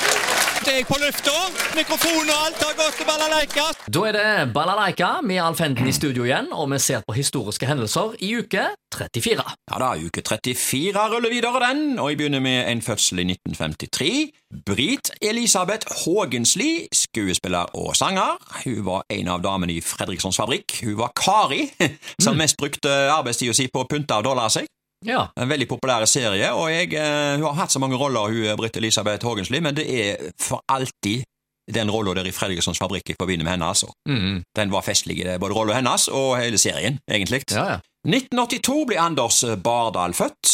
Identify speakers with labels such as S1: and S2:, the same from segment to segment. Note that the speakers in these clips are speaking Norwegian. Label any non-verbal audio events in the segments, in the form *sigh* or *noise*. S1: Snart er jeg på lufta. Mikrofon og alt har gått til balalaika.
S2: Da er det Balalaika med Alf Henden i studio igjen, og vi ser på historiske hendelser i uke 34.
S1: Ja da, uke 34 ruller videre den, og jeg begynner med en fødsel i 1953. Brit Elisabeth Haagensli, skuespiller og sanger. Hun var en av damene i Fredrikssons Fabrikk. Hun var Kari, *laughs* som mest brukte arbeidstida si på å pynte og dollare seg.
S2: Ja,
S1: En veldig populær serie, og jeg, eh, hun har hatt så mange roller, hun eh, Britt Elisabeth Haagensli, men det er for alltid den rolla der i Fredrikssons Fabrikk jeg forbinder med henne, altså.
S2: mm,
S1: Den var festlig, det er både rolla hennes og hele serien, egentlig.
S2: ja, ja.
S1: 1982 ble Anders eh, Bardal født.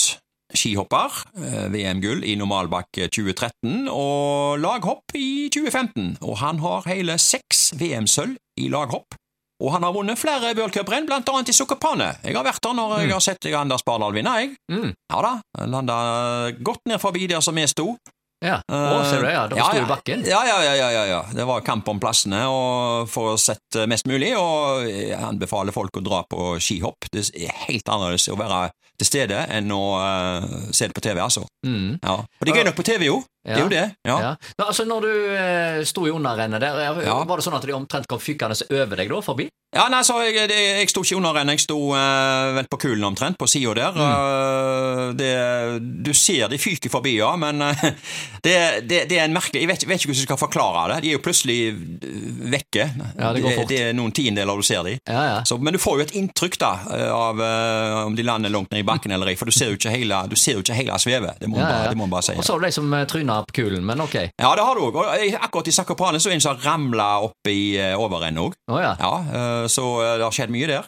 S1: Skihopper, eh, VM-gull i normalbakk 2013 og laghopp i 2015. Og han har hele seks VM-sølv i laghopp. Og han har vunnet flere World Cup-renn, blant annet i Sukkerpanne. Jeg har vært der når jeg har sett Anders Bardal vinne, jeg.
S2: Mm,
S1: Ja da, landa godt ned forbi der som vi sto.
S2: ja. Å, ser du det, Eh, ja. Det var stor i bakken.
S1: Ja, ja, ja, ja, ja, ja. Det var kamp om plassene og for å sette mest mulig, og jeg anbefaler folk å dra på skihopp. Det er helt annerledes å være til stede enn å eh, se det på TV, altså.
S2: Mm,
S1: Ja. Og det er gøy nok på TV, jo. Det er jo det. Ja.
S2: ja. Men altså, når du eh, sto i underrennet der, eh,
S1: Ja.
S2: var det sånn at de omtrent kom fykende over deg da, forbi?
S1: Ja, nei, så jeg, det, jeg sto ikke under renn, jeg sto eh, vel på kulen omtrent, på sida der.
S2: Mm.
S1: Eh, det, du ser de fyker forbi, ja, men eh, *laughs* det, det, det er en merkelig Jeg vet, vet ikke hvordan jeg skal forklare det. De er jo plutselig eh, vekke.
S2: Ja, det går fort.
S1: det er noen tiendeler du ser de.
S2: Ja, ja.
S1: Så, men du får jo et inntrykk da eh, av eh, om de lander langt ned i bakken eller ei, for du ser jo ikke hele, du ser jo ikke hele svevet. Det må
S2: Ja,
S1: man
S2: ja.
S1: bare, det må man bare si.
S2: Og så var det de som eh, tryna på kulen, men ok.
S1: Ja, det har du òg. Og eh, akkurat i Sakopane så er det en som har ramla opp i eh, overenden òg.
S2: Å ja.
S1: Ja, eh, så eh, det har skjedd mye der. Eh,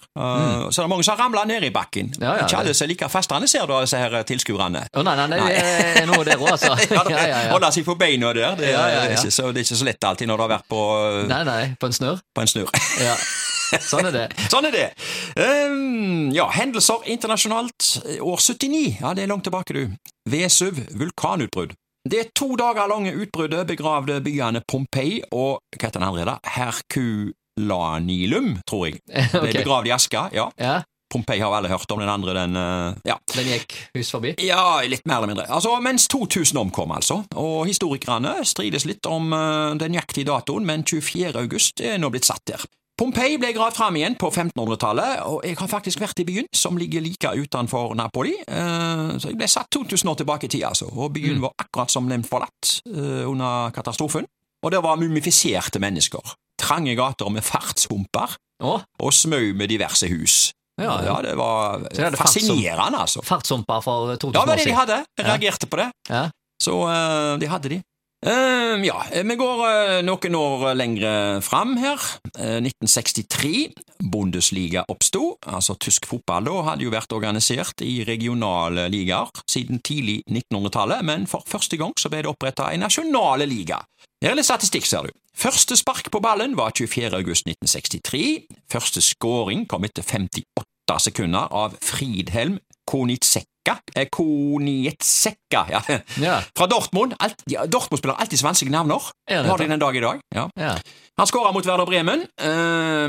S1: Så det er mange som har ramla ned i bakken.
S2: Mm. Ja, ja,
S1: ikke alle som er like festende, ser du, av disse her eh, tilskuerne.
S2: Å nei, nei, nei, det er noe der òg, altså.
S1: Ja,
S2: *laughs* Ja,
S1: *laughs*
S2: ja, ja.
S1: Holde seg på beina der. Det er,
S2: Ja, ja, ja.
S1: Ikke så, det er ikke så lett alltid når du har vært på, eh,
S2: Nei, nei, på en snørr.
S1: på en snurr. *laughs*
S2: Ja. Sånn er det. *laughs*
S1: sånn er det. Ehm, ja, hendelser internasjonalt. År 79. Ja, det er langt tilbake, du. Vesuv vulkanutbrudd. Det to dager lange utbruddet begravde byene Pompeii og hva heter den andre, da? Herculanilum, tror jeg. De
S2: Ok.
S1: begravde i aska, ja.
S2: Ja,
S1: Pompeii har alle hørt om den andre, den eh, ja.
S2: den gikk hus forbi.
S1: ja, litt mer eller mindre. Altså, Mens 2000 omkom, altså. Og historikerne strides litt om eh, den nøyaktige datoen, men 24. august er nå blitt satt der. Pompeii ble gravd fram igjen på 1500-tallet, og jeg har faktisk vært i byen, som ligger like utenfor Napoli, eh, så jeg ble satt 2000 år tilbake i tid, altså, og byen var akkurat som nevnt forlatt eh, under katastrofen, og det var mumifiserte mennesker, trange gater med fartshumper
S2: Å,
S1: og smau med diverse hus.
S2: ja, ja.
S1: Ja, det var
S2: Så det hadde
S1: fascinerende, altså.
S2: Fartshumper for
S1: Ja,
S2: 2000
S1: det var det
S2: år
S1: de
S2: siden.
S1: hadde. Jeg reagerte på det.
S2: Ja.
S1: Så eh, de hadde de. Eh, ja, vi går eh, noen år lengre fram her. Eh, 1963. Bundesliga oppsto. Altså tysk fotball da hadde jo vært organisert i regionale ligaer siden tidlig 1900-tallet, men for første gang så ble det oppretta en nasjonale liga. Her er litt statistikk, ser du. Første spark på ballen var 24. august 1963. Første scoring kom etter 58 sekunder av Fridhelm Konitsekka. Eh, Konitsekka, ja. *laughs*
S2: Ja,
S1: Fra Dortmund. Alt, ja, Dortmund spiller alltid svenske navner.
S2: Ja, det
S1: Det har de
S2: vet
S1: den dag i dag. Ja.
S2: ja.
S1: Han skåra mot Werder Bremen, eh,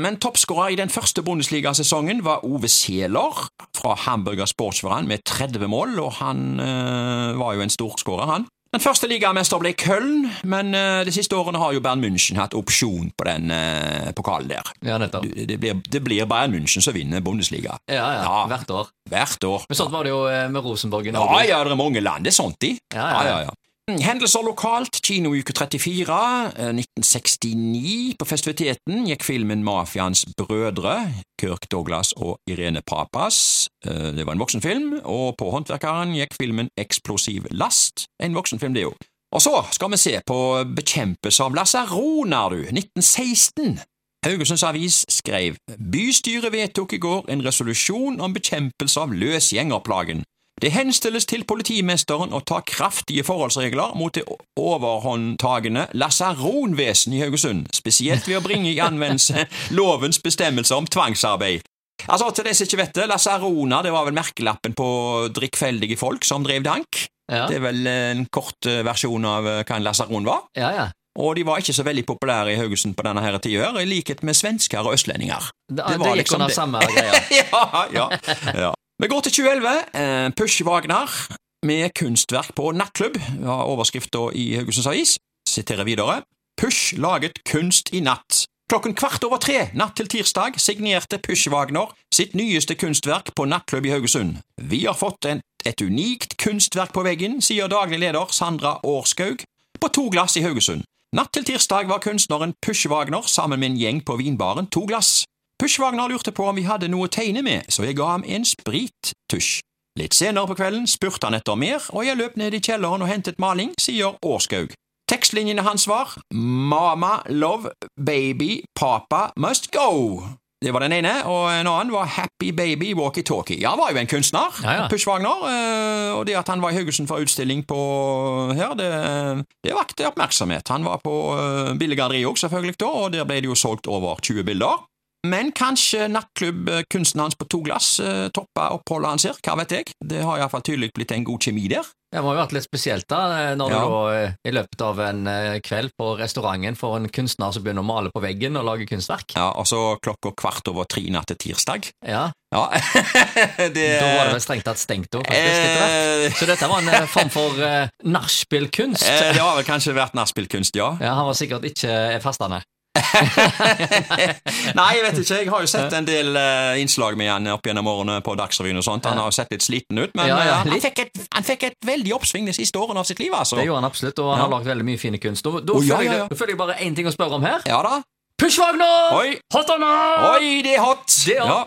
S1: men toppskårer i den første Bundesliga-sesongen var Ove Seeler fra Hamburger Sportsverein med 30 mål, og han eh, var jo en storskårer, han. Den første ligamester ble Köln, men eh, de siste årene har jo Bern München hatt opsjon på den eh, pokalen der.
S2: ja nettopp.
S1: Du, Det blir, det blir Bayern München som vinner Bundesliga
S2: Ja, ja,
S1: Ja.
S2: hvert år.
S1: hvert år.
S2: Men sånn var det jo eh, med Rosenborg i
S1: Ja,
S2: Norge.
S1: ja, det er mange land, det er sånt de.
S2: Ja,
S1: Ja, ja, ja. Hendelser lokalt, kinouke 34, eh, 1969. På festiviteten gikk filmen Mafiaens brødre, Kirk Douglas og Irene Papas. Eh, Det var en voksenfilm, og på Håndverkeren gikk filmen Eksplosiv last. En voksenfilm, det jo. Og så skal vi se på Bekjempelse av lasaroner, du, 1916. Haugesunds Avis skrev Bystyret vedtok i går en resolusjon om bekjempelse av løsgjengerplagen. Det henstilles til politimesteren å ta kraftige forholdsregler mot det overhåndtagende lasaronvesenet i Haugesund, spesielt ved å bringe i anvendelse lovens bestemmelser om tvangsarbeid. Altså, til de som ikke vet det, lasaroner det var vel merkelappen på drikkfeldige folk som drev dank.
S2: Ja,
S1: Det er vel en kort eh, versjon av eh, hva en lasaron var.
S2: ja. ja.
S1: Og de var ikke så veldig populære i Haugesund på denne her tida, her, i likhet med svensker og østlendinger. *laughs*
S2: Det,
S1: var
S2: det, gikk
S1: liksom
S2: under
S1: det.
S2: samme greia.
S1: *laughs* ja, ja, ja. Vi går til 2011. eh, Push Wagner med kunstverk på nattklubb, var overskrifta i Haugesunds Avis. siterer videre. Push laget kunst i natt. Klokken kvart over tre natt til tirsdag signerte Push Wagner sitt nyeste kunstverk på nattklubb i Haugesund. Vi har fått en, et unikt kunstverk på veggen, sier daglig leder Sandra Årskaug på To glass i Haugesund. Natt til tirsdag var kunstneren Push Wagner sammen med en gjeng på vinbaren To glass. Push Wagner lurte på om vi hadde noe å tegne med, så jeg ga ham en sprittusj. Litt senere på kvelden spurte han etter mer, og jeg løp ned i kjelleren og hentet maling, sier Årskaug. Tekstlinjene hans var Mama, love, baby, papa, must go. Det var den ene, og en annen var Happy Baby Walkie-Talkie. Ja, han var jo en kunstner,
S2: Ja, ja.
S1: Push Wagner, eh, og det at han var i Haugesund for utstilling på her, det, det vakte oppmerksomhet. Han var på eh, Billedgalleriet òg, selvfølgelig, da, og der ble det jo solgt over 20 bilder. Men kanskje nattklubbkunsten hans på to glass eh, toppa oppholdet hans her, hva vet jeg. Det har iallfall tydelig blitt en god kjemi der.
S2: Det må jo ha vært litt spesielt da, eh, når
S1: Ja.
S2: du da eh, i løpet av en eh, kveld på restauranten får en kunstner som begynner å male på veggen og lage kunstverk.
S1: Ja, Og så klokka kvart over tre natt til tirsdag.
S2: Ja,
S1: Ja, *laughs* det
S2: Da var det vel strengt tatt stengt da, faktisk, etter hvert.
S1: eh,
S2: Så dette var en eh, form for eh, nachspielkunst.
S1: eh, Det har vel kanskje vært nachspielkunst,
S2: *laughs*
S1: ja.
S2: Ja, han var sikkert ikke eh, festende.
S1: Nei, jeg vet ikke. Jeg har jo sett en del eh, innslag med han opp gjennom årene på Dagsrevyen og sånt. Han har jo sett litt sliten ut, men
S2: Ja, ja,
S1: eh, han,
S2: litt.
S1: fikk et, han fikk et veldig oppsving de siste årene av sitt liv, altså.
S2: Det gjorde han absolutt, og han
S1: Ja.
S2: har lagd veldig mye fin kunst. Da, da,
S1: Å, ja, ja,
S2: føler jeg,
S1: ja.
S2: da føler jeg bare én ting å spørre om her.
S1: Ja da.
S2: Push Wagner!
S1: Oi,
S2: Hot or not?
S1: oi, det er hot!
S2: Det er
S1: Ja.
S2: hot.